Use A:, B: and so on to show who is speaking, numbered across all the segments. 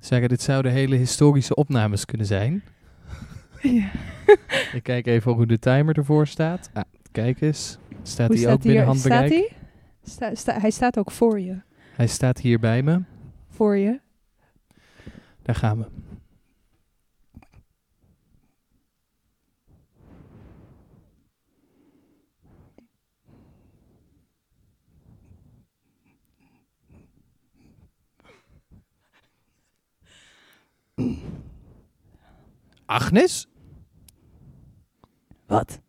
A: zeggen, dit zouden hele historische opnames kunnen zijn.
B: Ja.
A: Ik kijk even hoe de timer ervoor staat. Ah, kijk eens. Staat
B: Hoe
A: hij ook binnen
B: hier? Staat
A: handbereik?
B: hij? Sta- sta- hij staat ook voor je.
A: Hij staat hier bij me.
B: Voor je.
A: Daar gaan we. Agnes?
B: Wat?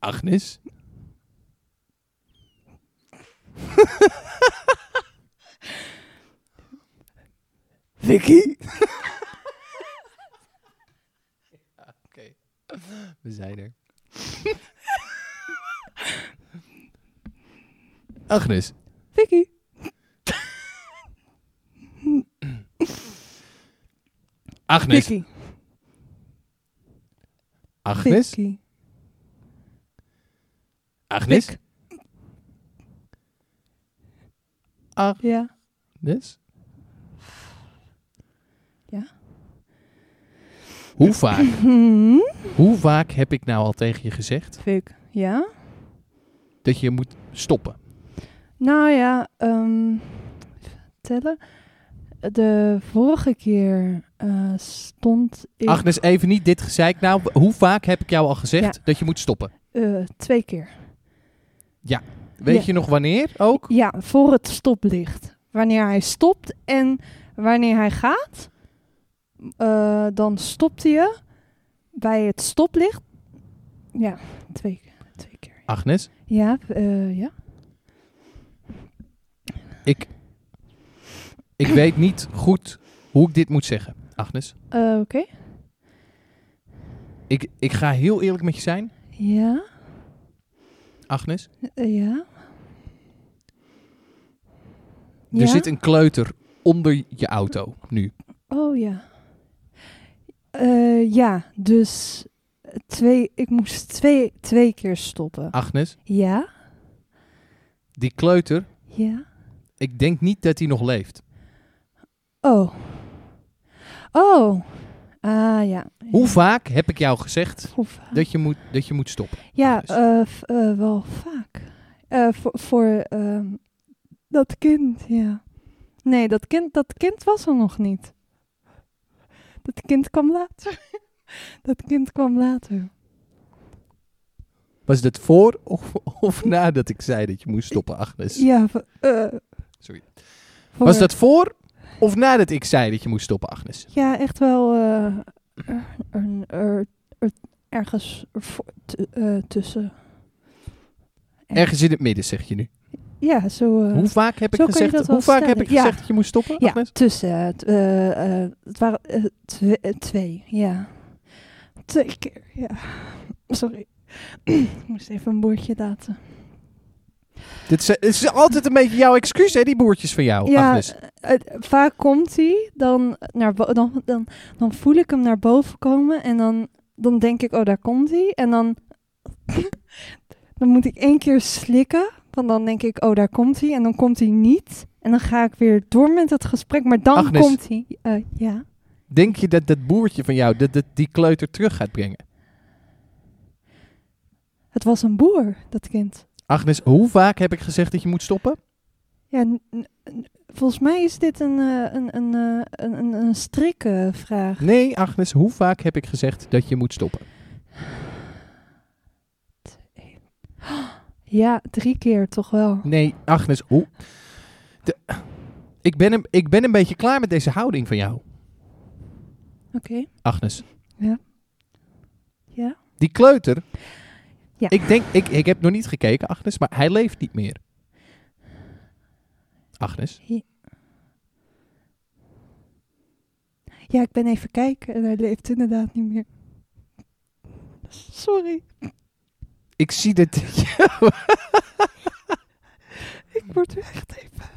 A: Agnes?
B: Vicky?
A: Oké, we zijn er. Agnes,
B: Vicky?
A: Agnes,
B: Vicky.
A: Agnes,
B: Vicky.
A: Agnes,
B: Vic. Ja.
A: Agnes.
B: Ja.
A: Hoe vaak, hoe vaak heb ik nou al tegen je gezegd
B: Mhm. Vic. Ja?
A: dat je moet stoppen?
B: Nou ja, ehm, even tellen. De vorige keer eh, stond ik...
A: Agnes, even niet dit gezeik nou. Hoe vaak heb ik jou al gezegd dat je moet stoppen?
B: eh, twee keer.
A: Weet
B: Ja.
A: je nog wanneer ook?
B: Ja, voor het stoplicht. Wanneer hij stopt en wanneer hij gaat, eh, dan stopte je bij het stoplicht. Ja, twee, twee keer.
A: Agnes,
B: Ja, eh, ja.
A: ik, ik weet niet goed hoe ik dit moet zeggen. Agnes,
B: Eh, Oké.
A: ik, ik ga heel eerlijk met je zijn.
B: Ja,
A: Agnes,
B: eh, ja.
A: er
B: Ja?
A: zit een kleuter onder je auto nu.
B: Oh ja. Eh, ja, dus twee, ik moest twee, twee keer stoppen.
A: Agnes,
B: Ja,
A: die kleuter,
B: ja.
A: ik denk niet dat hij nog leeft.
B: Oh. Oh. Ah ja.
A: Hoe vaak heb ik jou gezegd
B: Hoe vaak?
A: dat je moet, dat je moet stoppen?
B: Ja,
A: Agnes?
B: eh, v- eh, wel vaak. Eh, voor voor ehm, dat kind, ja. Nee, dat kind, dat kind was er nog niet. Dat kind kwam later. dat kind kwam later.
A: Was dat voor of, of nadat ik zei dat je moest stoppen, Agnes?
B: Ja, v- eh,
A: Dus Sorry.
B: voor-
A: Was dat voor of nadat ik zei dat je moest stoppen, Agnes?
B: Ja, echt wel eh, er- er- er- er- ergens ervoor- t- eh, tussen.
A: Ergens in het midden, zeg je nu.
B: Ja, zo. eh,
A: Hoe vaak heb ik
B: zo kan je
A: gezegd,
B: dat wel
A: hoe vaak heb
B: stellen.
A: ik
B: Ja.
A: gezegd dat je moest stoppen,
B: Ja,
A: Agnes?
B: tussen. eh, t- eh, eh, het waren eh, twe- eh, twee, ja. Twee keer, ja. Sorry. Ik moest even een boertje laten.
A: Dit is, eh, het is altijd een beetje jouw excuus, hè, die boertjes van jou,
B: ja,
A: Agnes.
B: eh, eh, vaak komt hij, dan, naar bo- dan, dan, dan voel ik hem naar boven komen en dan, dan denk ik, oh, daar komt hij. En dan, dan moet ik één keer slikken, want dan denk ik, oh, daar komt hij. En dan komt hij niet. En dan ga ik weer door met het gesprek, maar dan
A: Agnes.
B: komt hij. Eh, ja.
A: Denk je dat dat boertje van jou dat, dat die kleuter terug gaat brengen?
B: Het was een boer, dat kind.
A: Agnes, hoe vaak heb ik gezegd dat je moet stoppen?
B: Ja, n- n- n- volgens mij is dit een, eh, een, een, eh, een, een, een strikkenvraag.
A: Nee, Agnes, hoe vaak heb ik gezegd dat je moet stoppen?
B: Ja, drie keer toch wel.
A: Nee, Agnes, hoe? De- ik, ben een, ik ben een beetje klaar met deze houding van jou,
B: Oké.
A: Agnes.
B: Ja.
A: Die kleuter.
B: Ja.
A: Ik denk, ik, ik heb nog niet gekeken, Agnes, maar hij leeft niet meer. Agnes,
B: ja, ik ben even kijken en hij leeft inderdaad niet meer. Sorry,
A: ik zie dat.
B: ik word er echt even...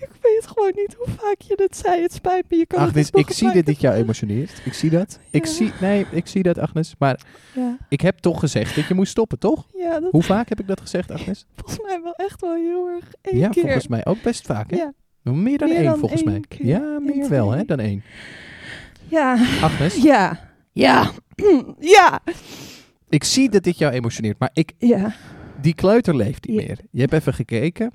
B: Ik ben weet gewoon niet hoe vaak je dit zei. Het spijt me. Je kan het
A: Agnes,
B: dus nog
A: ik
B: een
A: zie
B: paar
A: dat
B: keer-
A: dit jou emotioneert. Ik zie dat. Ik
B: Ja.
A: zie, nee, ik zie dat, Agnes. Maar
B: Ja,
A: ik heb toch gezegd dat je moest stoppen, toch?
B: ja dat
A: Hoe vaak heb ik dat gezegd, Agnes?
B: volgens mij wel echt wel heel erg één
A: ja,
B: keer.
A: volgens mij ook best vaak, hè? Nou,
B: Ja.
A: Meer dan
B: Meer
A: één,
B: dan
A: volgens
B: één
A: mij.
B: keer.
A: Ja, meer
B: En
A: wel,
B: twee.
A: hè, dan één.
B: Ja,
A: Agnes,
B: ja, ja, ja,
A: ik zie dat dit jou emotioneert, maar ik,
B: ja.
A: die kleuter leeft niet
B: Ja.
A: meer. Je hebt even gekeken.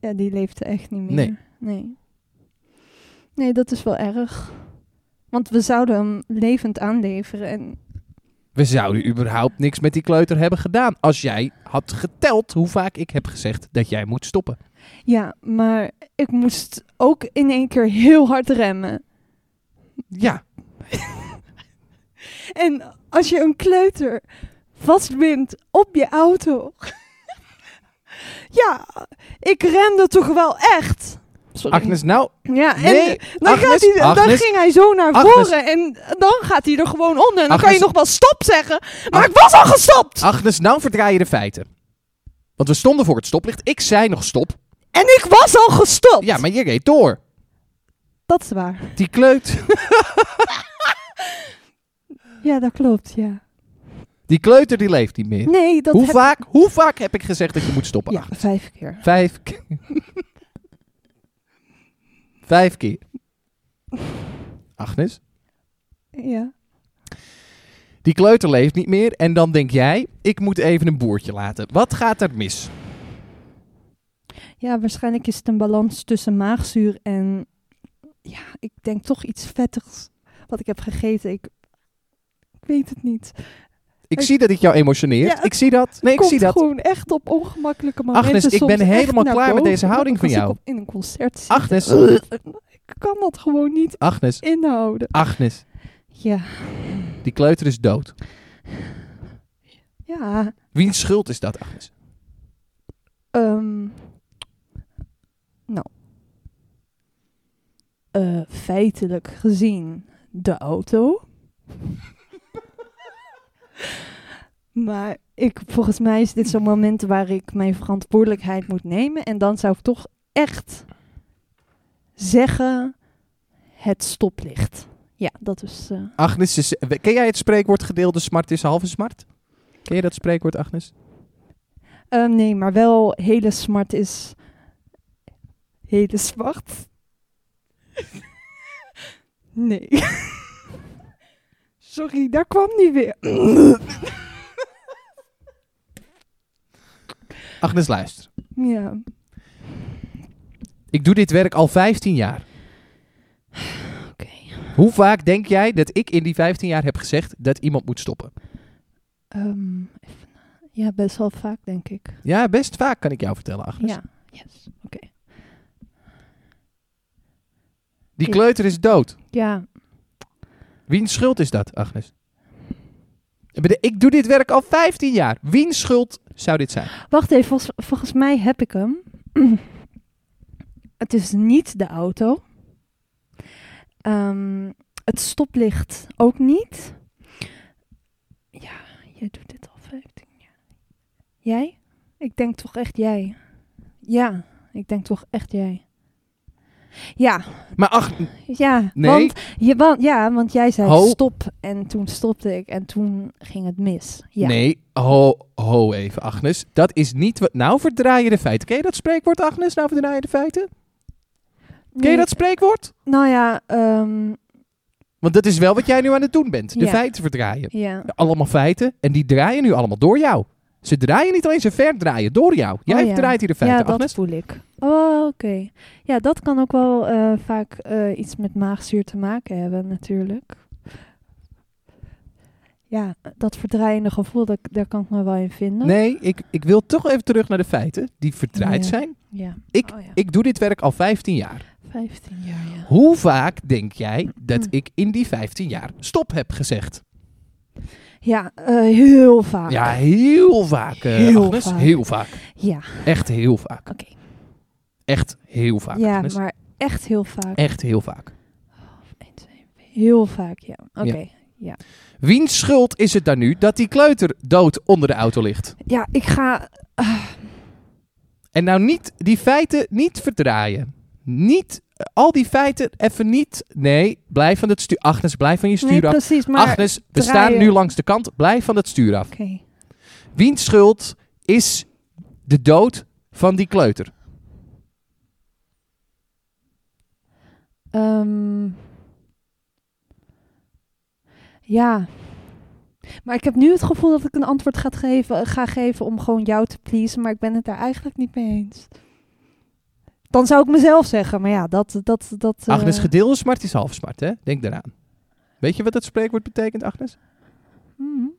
B: Ja, die leefde echt niet meer.
A: Nee.
B: Nee, Nee, dat is wel erg. Want we zouden hem levend aanleveren en...
A: We zouden überhaupt niks met die kleuter hebben gedaan als jij had geteld hoe vaak ik heb gezegd dat jij moet stoppen.
B: Ja, maar ik moest ook in één keer heel hard remmen.
A: Ja,
B: En als je een kleuter vastbindt op je auto. ja, ik remde toch wel echt. Sorry.
A: Agnes, nou,
B: Ja, en
A: Nee,
B: dan,
A: Agnes,
B: gaat hij, dan
A: Agnes,
B: ging hij zo naar
A: Agnes.
B: voren en dan gaat hij er gewoon onder. En dan kan je
A: Agnes.
B: nog wel stop zeggen, maar
A: Ag-
B: ik was al gestopt.
A: Agnes, nou verdraai je de feiten. Want we stonden voor het stoplicht. Ik zei nog stop.
B: En ik was al gestopt.
A: Ja, maar je reed door.
B: Dat is waar.
A: Die kleut,
B: Ja, dat klopt, ja.
A: die kleuter die leeft niet meer.
B: Nee, dat
A: hoe,
B: heb-
A: vaak, hoe vaak heb ik gezegd dat je moet stoppen?
B: Ja,
A: Agnes?
B: vijf keer.
A: Vijf keer. Vijf keer. Agnes,
B: Ja.
A: die kleuter leeft niet meer. En dan denk jij, ik moet even een boertje laten. Wat gaat er mis?
B: ja, waarschijnlijk is het een balans tussen maagzuur en... Ja, ik denk toch iets vettigs wat ik heb gegeten. Ik, ik weet het niet.
A: Ik
B: Ik-
A: zie dat ik jou emotioneert.
B: Ja,
A: ik zie dat. Nee, ik
B: Komt
A: zie dat.
B: gewoon echt op ongemakkelijke momenten.
A: Agnes, ik
B: soms
A: ben
B: echt
A: helemaal
B: naar
A: klaar met
B: boven.
A: deze houding van
B: Als ik
A: jou.
B: op- in een concert zit,
A: Agnes.
B: ik kan dat gewoon niet
A: Agnes,
B: inhouden.
A: Agnes,
B: Ja,
A: die kleuter is dood.
B: ja.
A: Wiens schuld is dat, Agnes?
B: Ehm, nou. Eh, feitelijk gezien de auto. maar ik, volgens mij is dit zo'n moment waar ik mijn verantwoordelijkheid moet nemen. En dan zou ik toch echt zeggen: het stoplicht. Ja, dat is. eh,
A: Agnes, is, ken jij het spreekwoord gedeelde smart is halve smart? Ken je dat spreekwoord, Agnes?
B: Eh, nee, maar wel hele smart is. Hele zwart. nee. Sorry, daar kwam niet weer.
A: Agnes, luister.
B: ja.
A: Ik doe dit werk al 15 jaar.
B: Oké.
A: Hoe vaak denk jij dat ik in die 15 jaar heb gezegd dat iemand moet stoppen?
B: Ehm, even- ja, best wel vaak, denk ik.
A: Ja, best vaak kan ik jou vertellen, Agnes.
B: Ja. Yes. Oké.
A: Die
B: Ik-
A: kleuter is dood.
B: Ja.
A: Wiens schuld is dat, Agnes? Ik bedoel, Ik doe dit werk al 15 jaar. Wiens schuld zou dit zijn?
B: Wacht even, volgens, volgens mij heb ik hem. het is niet de auto. Ehm, het stoplicht ook niet. Ja, jij doet dit al 15 jaar. Jij? Ik denk toch echt jij. Ja, ik denk toch echt jij. Ja,
A: Maar ach,
B: ja.
A: Nee.
B: Want, je, want, ja, want jij zei
A: Ho.
B: stop en toen stopte ik en toen ging het mis. Ja.
A: nee, ho, ho even, Agnes. Dat is niet wat... Nou verdraai je de feiten. Ken je dat spreekwoord, Agnes? Nou verdraai je de feiten. Ken
B: Nee,
A: je dat spreekwoord?
B: Nou ja, ehm,
A: Want dat is wel wat jij nu aan het doen bent. De
B: Ja.
A: feiten verdraaien.
B: ja.
A: Allemaal feiten. En die draaien nu allemaal door jou. Ze draaien niet alleen, ze verdraaien door jou. Jij
B: Oh ja.
A: draait hier de feiten,
B: ja, dat
A: Agnes.
B: voel ik. Oh, oké. Ja, dat kan ook wel eh, vaak eh, iets met maagzuur te maken hebben, natuurlijk. Ja, dat verdraaiende gevoel, dat, daar kan ik me wel in vinden.
A: Nee, ik, ik wil toch even terug naar de feiten die verdraaid
B: Oh Ja.
A: zijn.
B: Ja.
A: Ik-
B: Oh ja,
A: Ik doe dit werk al 15 jaar.
B: 15 jaar, ja.
A: Hoe vaak denk jij dat
B: Hm.
A: ik in die 15 jaar stop heb gezegd?
B: Ja, eh, heel vaak.
A: Ja, heel vaak, eh,
B: Heel
A: Agnes.
B: vaak.
A: Heel vaak.
B: Ja,
A: Echt heel vaak.
B: oké.
A: Echt heel vaak,
B: Ja,
A: Agnes.
B: maar echt heel vaak.
A: Echt heel vaak.
B: Eén, twee, heel vaak, ja. Oké.
A: Wiens schuld is het dan nu dat die kleuter dood onder de auto ligt?
B: Ja, ik ga...
A: En nou niet die feiten niet verdraaien. niet eh, al die feiten even niet. Nee, blijf van het stuur. Agnes, blijf van je stuur
B: Nee,
A: af.
B: precies, maar...
A: Agnes, we
B: draaien.
A: staan nu langs de kant. Blijf van het stuur af.
B: Oké,
A: Wiens schuld is de dood van die kleuter?
B: ehm, ja. Maar ik heb nu het gevoel dat ik een antwoord gaat geven, ga geven om gewoon jou te pleasen, maar ik ben het daar eigenlijk niet mee eens. Dan zou ik mezelf zeggen, maar ja, dat... dat, dat eh,
A: Agnes, gedeelde smart is half smart, hè? Denk daaraan. Weet je wat dat spreekwoord betekent, Agnes?
B: mm.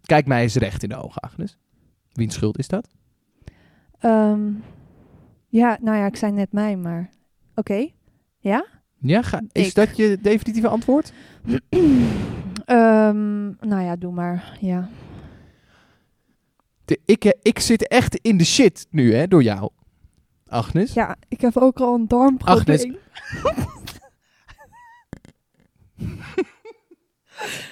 A: Kijk mij eens recht in de ogen, Agnes. Wiens schuld is dat?
B: Ehm, ja, nou ja, ik zei net mij, maar oké.
A: Ja, ga- is
B: Ik.
A: dat je definitieve antwoord?
B: Ehm, nou ja, doe maar. Ja.
A: De- ik, eh, ik zit echt in de shit nu, hè, door jou. Agnes?
B: ja, ik heb ook al een darmprobleem.
A: Agnes.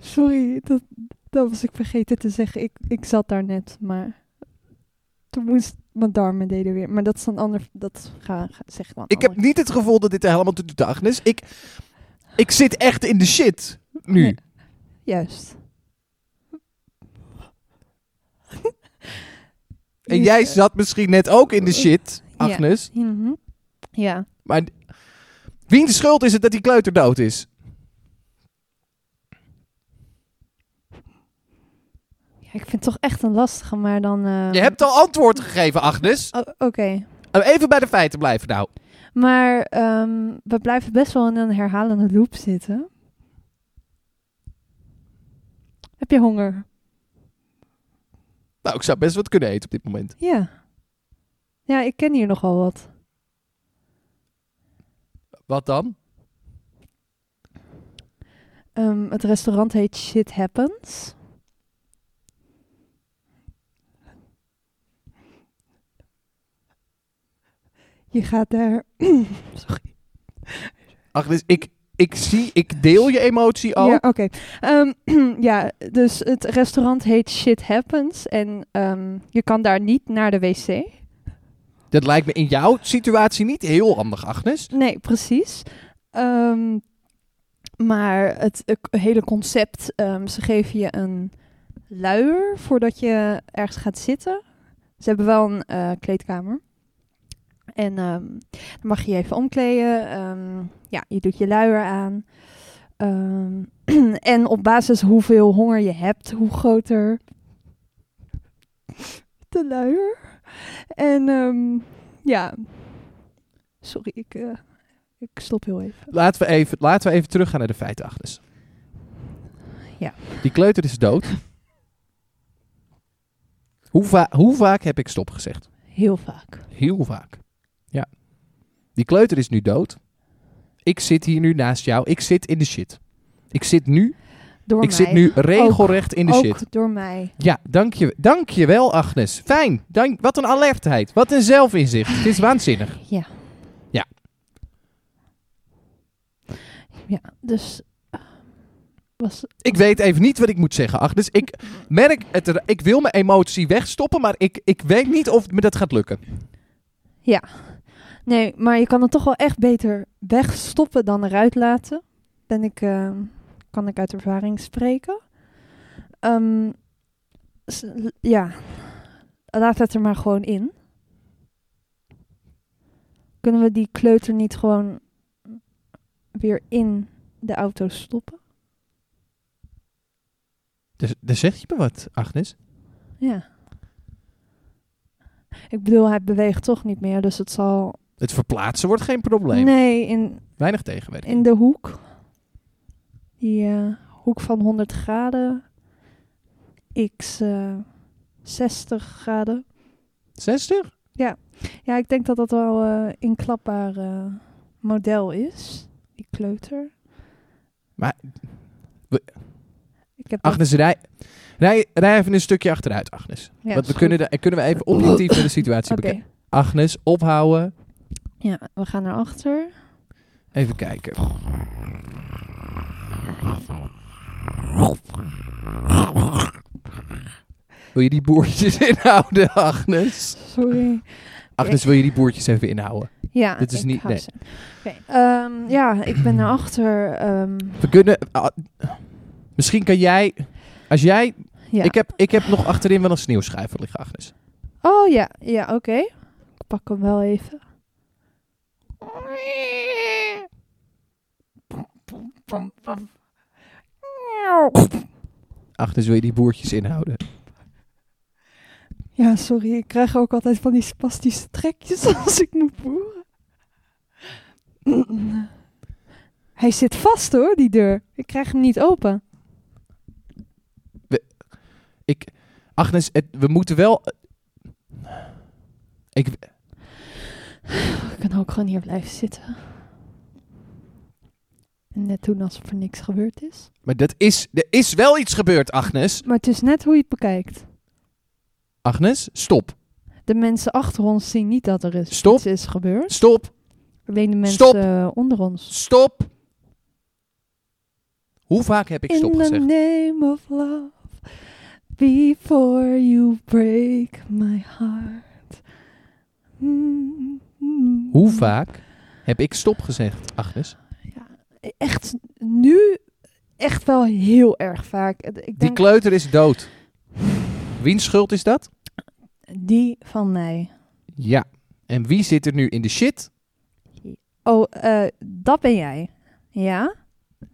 B: Sorry, dat, dat was ik vergeten te zeggen. Ik, ik zat daar net, maar toen moest mijn darmen deden weer. Maar dat is een ander, dat ga, ga, zeg maar.
A: Ik heb niet het gevoel dat dit er helemaal toe doet, Agnes. Ik, ik zit echt in de shit nu.
B: Nee. Juist.
A: En jij zat misschien net ook in de shit, Agnes.
B: Mhm. Ja.
A: Maar d- wiens schuld is het dat die kleuter dood is?
B: Ja, ik vind het toch echt een lastige, maar dan... eh,
A: Je hebt al antwoord gegeven, Agnes. Eh,
B: o- Oké,
A: Even bij de feiten blijven nou.
B: maar ehm, we blijven best wel in een herhalende loop zitten. Heb je honger?
A: Nou, ik zou best wat kunnen eten op dit moment.
B: Ja. Ja, ik ken hier nogal wat.
A: Wat dan?
B: Ehm, het restaurant heet Shit Happens. Je gaat daar. Sorry.
A: Agnes, ik, ik zie, ik deel je emotie al.
B: Ja, oké. Ehm, ja, dus het restaurant heet Shit Happens. En ehm, je kan daar niet naar de wc.
A: Dat lijkt me in jouw situatie niet heel handig, Agnes.
B: Nee, precies. Ehm, maar het eh, k- hele concept, ehm, ze geven je een luier voordat je ergens gaat zitten. Ze hebben wel een eh, kleedkamer. En ehm, dan mag je je even omkleden. Ehm, ja, je doet je luier aan. Ehm, en op basis hoeveel honger je hebt, hoe groter de luier. En ehm, ja, sorry, ik, eh, ik stop heel even.
A: Laten we even, laten we even teruggaan naar de feiten, Agnes.
B: Ja.
A: Die kleuter is dood. Hoe, va- hoe vaak heb ik stop gezegd?
B: Heel vaak.
A: Heel vaak. Ja. Die kleuter is nu dood. Ik zit hier nu naast jou. Ik zit in de shit. Ik zit nu,
B: Door
A: ik
B: mij.
A: zit nu regelrecht in de
B: Ook
A: shit.
B: door mij.
A: Ja, dank je, dank je wel, Agnes. Fijn. Dank, wat een alertheid. Wat een zelfinzicht. Het is waanzinnig.
B: Ja.
A: Ja.
B: Ja, dus... eh, was,
A: Ik weet even niet wat ik moet zeggen, Agnes. Ik merk het. er- Ik wil mijn emotie wegstoppen, maar ik, ik weet niet of me dat gaat lukken.
B: nee, maar je kan het toch wel echt beter wegstoppen dan eruit laten. Ben ik, eh, kan ik uit ervaring spreken. Ehm, s- l- ja, laat het er maar gewoon in. Kunnen we die kleuter niet gewoon weer in de auto stoppen?
A: Dus, dus zeg je me wat, Agnes?
B: Ja. Ik bedoel, hij beweegt toch niet meer, dus het zal...
A: Het verplaatsen wordt geen probleem.
B: Nee, in,
A: Weinig tegenwerking.
B: in de hoek. Die eh, hoek van 100 graden. X eh, 60 graden.
A: 60?
B: Ja, ik denk dat dat wel eh inklapbaar eh, model is. Die kleuter.
A: Maar-
B: Ik heb dat-
A: Agnes, rij, rij, rij even een stukje achteruit, Agnes.
B: ja,
A: Want we
B: is
A: kunnen,
B: goed.
A: de, kunnen we even objectief naar de situatie
B: Oké.
A: bekijken. Agnes, ophouden.
B: Ja, we gaan naar achter.
A: Even kijken. Wil je die boertjes inhouden, Agnes?
B: Sorry.
A: Agnes, wil je die boertjes even inhouden?
B: Ja,
A: Dit is
B: ik
A: niet-
B: hou
A: nee.
B: ze. Oké, ehm, ja, ik ben erachter. ehm
A: We kunnen... ah, misschien kan jij... Als jij...
B: ja.
A: Ik, heb, ik heb nog achterin wel een sneeuwschuiver liggen, Agnes.
B: Oh ja, ja, oké. Ik pak hem wel even.
A: Agnes, wil je die boertjes inhouden?
B: Ja, sorry, ik krijg ook altijd van die spastische trekjes als ik moet boeren. Hij zit vast hoor, die deur. Ik krijg hem niet open.
A: Ik, Agnes, het- we moeten wel... Ik,
B: Ik kan ook gewoon hier blijven zitten. En net doen alsof er niks gebeurd is.
A: maar dat is, er is wel iets gebeurd, Agnes.
B: Maar het is net hoe je het bekijkt.
A: Agnes, stop.
B: De mensen achter ons zien niet dat er is,
A: Stop.
B: iets is gebeurd.
A: Stop.
B: Alleen de mensen
A: Stop.
B: eh, onder ons.
A: Stop. Hoe vaak heb ik
B: In
A: stop
B: the
A: gezegd?
B: name of love, before you break my heart. Mm, mm.
A: Hoe vaak heb ik stop gezegd, Agnes?
B: Echt nu, echt wel heel erg vaak. Ik denk
A: Die kleuter is dood. Wiens schuld is dat?
B: die van mij.
A: Ja. En wie zit er nu in de shit?
B: Oh, eh, dat ben jij. Ja?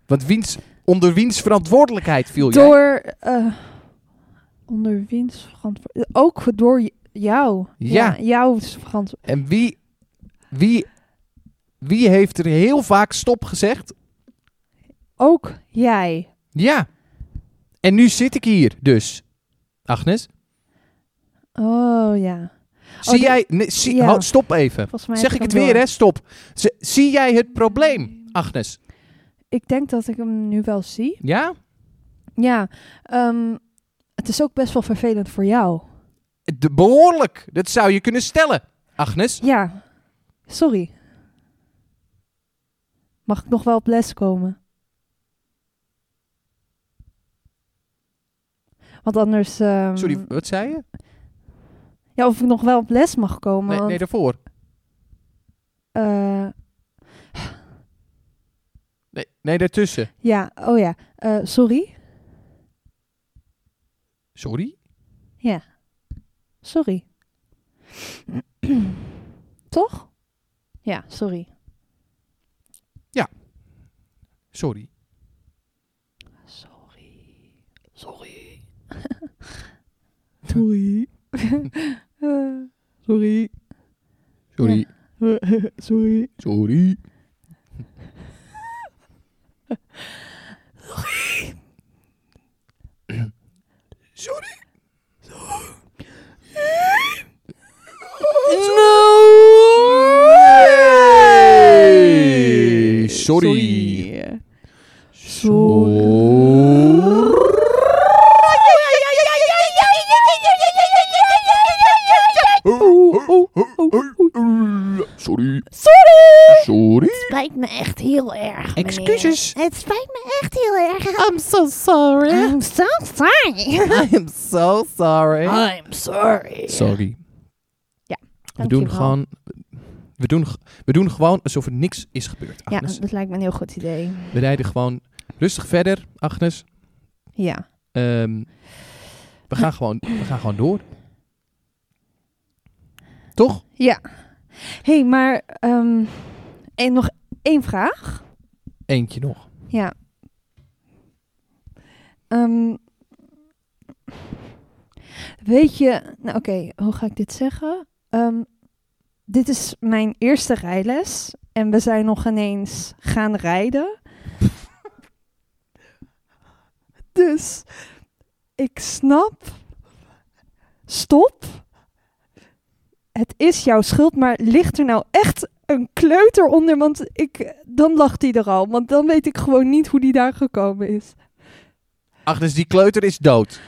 A: Want wiens, onder wiens verantwoordelijkheid viel Oh, jij?
B: Door, eh onder wiens verantwoord- Ook door j- jou.
A: Ja.
B: jouw verantwoord.
A: En wie, wie, wie heeft er heel vaak stop gezegd?
B: Ook jij.
A: Ja. En nu zit ik hier dus. Agnes,
B: Oh ja.
A: zie
B: die-
A: jij... nee, zie,
B: ja.
A: hou- stop even.
B: Volgens mij
A: zeg
B: heb
A: ik het
B: hem
A: weer,
B: door.
A: hè? Stop. Z- zie jij het probleem, Agnes?
B: Ik denk dat ik hem nu wel zie.
A: Ja?
B: Ja. ehm, het is ook best wel vervelend voor jou.
A: De, behoorlijk. Dat zou je kunnen stellen, Agnes.
B: Ja. Sorry. Mag ik nog wel op les komen? Want anders. ehm,
A: Sorry, wat zei je?
B: Ja, of ik nog wel op les mag komen.
A: Nee,
B: want,
A: nee daarvoor.
B: eh,
A: Nee, nee, daartussen.
B: ja, oh ja. Eh, sorry.
A: Sorry?
B: Sorry. Toch? Ja, sorry.
A: Sorry.
B: Sorry. Sorry. sorry. sorry.
A: Sorry.
B: sorry.
A: Sorry. Sorry. Sorry. Sorry. Sorry. Sorry.
C: spijt me echt heel erg. meneer.
A: Excuses. Ah.
C: Het spijt me echt heel erg.
A: I'm so sorry.
C: I'm so sorry.
A: I'm so
B: Ah.
A: sorry.
C: I'm sorry.
A: Sorry.
B: Ja,
A: we doen
B: dankjewel.
A: gewoon. We doen, ge- we doen gewoon alsof er niks is gebeurd.
B: Ja,
A: Agnes.
B: dat lijkt me een heel goed idee.
A: We rijden gewoon rustig verder, Agnes.
B: Ja.
A: Ehm, we, gaan gewoon, we gaan gewoon door. Toch?
B: Ja. Hé, hey, maar ehm, en nog één vraag.
A: Eentje nog.
B: Ja. Ehm, weet je, nou oké, hoe ga ik dit zeggen? Ehm, dit is mijn eerste rijles en we zijn nog ineens gaan rijden. dus ik snap, stop. Het is jouw schuld, maar ligt er nou echt een kleuter onder? Want ik, dan lacht hij er al, want dan weet ik gewoon niet hoe die daar gekomen is.
A: Agnes, die kleuter is dood.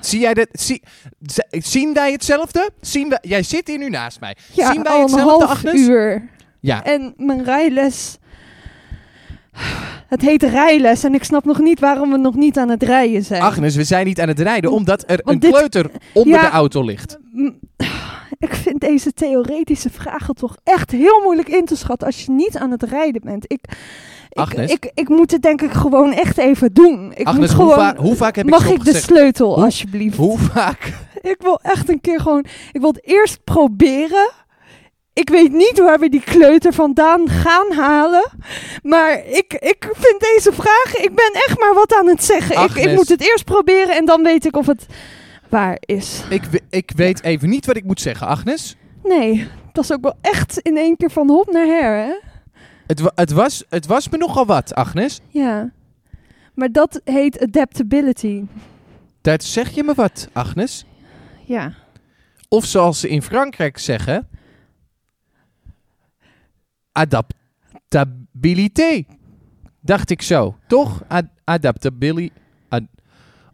A: Zie jij dat? Zie, z- zien wij hetzelfde? Zien wij, jij zit hier nu naast mij.
B: Ja,
A: zien wij
B: al een
A: hetzelfde,
B: half
A: Agnes?
B: uur.
A: Ja,
B: En mijn rijles. Het heet rijles en ik snap nog niet waarom we nog niet aan het rijden zijn.
A: Agnes, we zijn niet aan het rijden omdat er
B: Eh. Want
A: een
B: dit-
A: kleuter onder
B: Ja.
A: de auto ligt.
B: M- Ik vind deze theoretische vragen toch echt heel moeilijk in te schatten als je niet aan het rijden bent. Ik, ik,
A: Agnes?
B: ik, ik moet het denk ik gewoon echt even doen. Ik moet
A: Agnes,
B: gewoon,
A: hoe, va- hoe vaak heb ik
B: mag
A: stop
B: ik dus- de
A: gezegd?
B: sleutel
A: Hoe-
B: alsjeblieft?
A: Hoe vaak?
B: Ik wil echt een keer gewoon. Ik wil het eerst proberen. Ik weet niet waar we die kleuter vandaan gaan halen. Maar ik, ik vind deze vraag. Ik ben echt maar wat aan het zeggen. Ik, ik
A: Agnes.
B: moet het eerst proberen en dan weet ik of het waar is.
A: Ik, we- ik weet even niet wat ik moet zeggen, Agnes.
B: Nee, dat is ook wel echt in één keer van hop naar her, hè?
A: Het, wa- het, was, het was me nogal wat, Agnes.
B: Ja. Maar dat heet adaptability.
A: Dat zeg je me wat, Agnes.
B: Ja.
A: Of zoals ze in Frankrijk zeggen... Adaptabilité. Dacht ik zo, toch? Ad adaptabili- ad-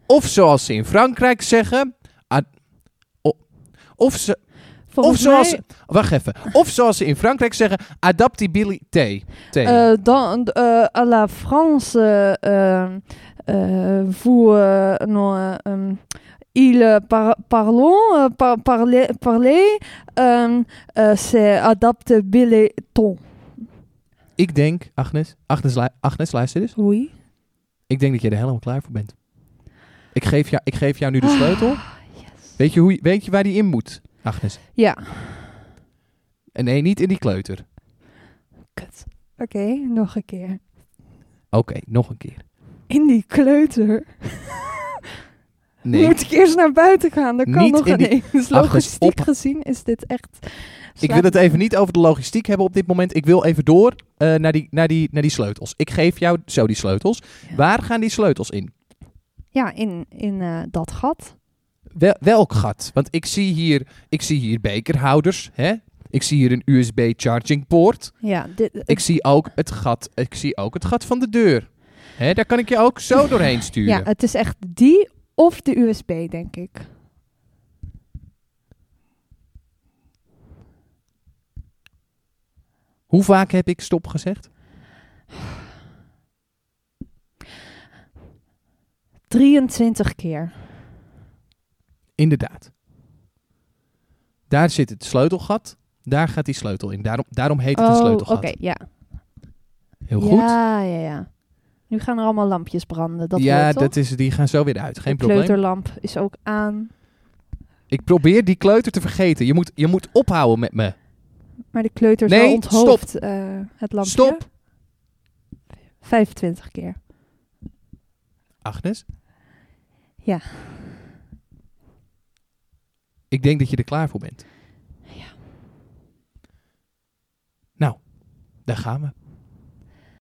A: of zoals ze in Frankrijk zeggen... ad- o- of ze,
B: Volgens
A: of zoals.
B: mij,
A: Wacht even. Of zoals ze in Frankrijk zeggen, adaptabilité. T.
B: eh, dan, eh, à la France, eh, eh, vous, eh, non, eh, ehm, il par- parlons, eh, par- parler, parler, ehm, eh, c'est adaptabilité.
A: ik denk, Agnes, Agnes, lu- Agnes, luister eens.
B: Oui.
A: Ik denk dat je er helemaal klaar voor bent. Ik geef jou, ik geef jou nu de sleutel.
B: Ah, yes.
A: Weet, je hoe, je- weet je waar die in moet, Agnes?
B: Ja,
A: En nee, niet in die kleuter.
B: kut. Oké, nog een keer.
A: Oké, nog een keer.
B: In die kleuter.
A: Nee,
B: Moet ik eerst naar buiten gaan? Dat kan
A: Niet
B: nog
A: in die-
B: niet. Dus
A: Agnes,
B: logistiek
A: op-
B: gezien is dit echt...
A: ik wil het even niet over de logistiek hebben op dit moment. Ik wil even door eh, naar, die, naar, die, naar die sleutels. Ik geef jou zo die sleutels.
B: Ja.
A: Waar gaan die sleutels in?
B: Ja, in, in eh, dat gat.
A: Wel, welk gat? Want ik zie hier, ik zie hier bekerhouders. Hè? Ik zie hier een USB charging poort.
B: Ja, dit,
A: Ik zie ook het gat, ik zie ook het gat van de deur. Hè? Daar kan ik je ook zo doorheen sturen.
B: ja, het is echt die of de USB, denk ik.
A: Hoe vaak heb ik stop gezegd?
B: 23 keer.
A: Inderdaad. Daar zit het sleutelgat. Daar gaat die sleutel in. Daarom, daarom heet het een
B: oh, oké,
A: sleutelgat.
B: ja.
A: Heel goed.
B: Ja, ja, ja. Nu gaan er allemaal lampjes branden. Dat
A: ja,
B: hoort, toch?
A: dat is, die gaan zo weer uit. Geen
B: de
A: probleem.
B: kleuterlamp is ook aan.
A: Ik probeer die kleuter te vergeten. Je moet, je moet ophouden met me.
B: Maar de kleuter is
A: Nee,
B: wel onthoofd, eh, het lampje.
A: Stop.
B: 25 keer.
A: Agnes?
B: Ja.
A: Ik denk dat je er klaar voor bent.
B: Ja.
A: Nou, daar gaan we.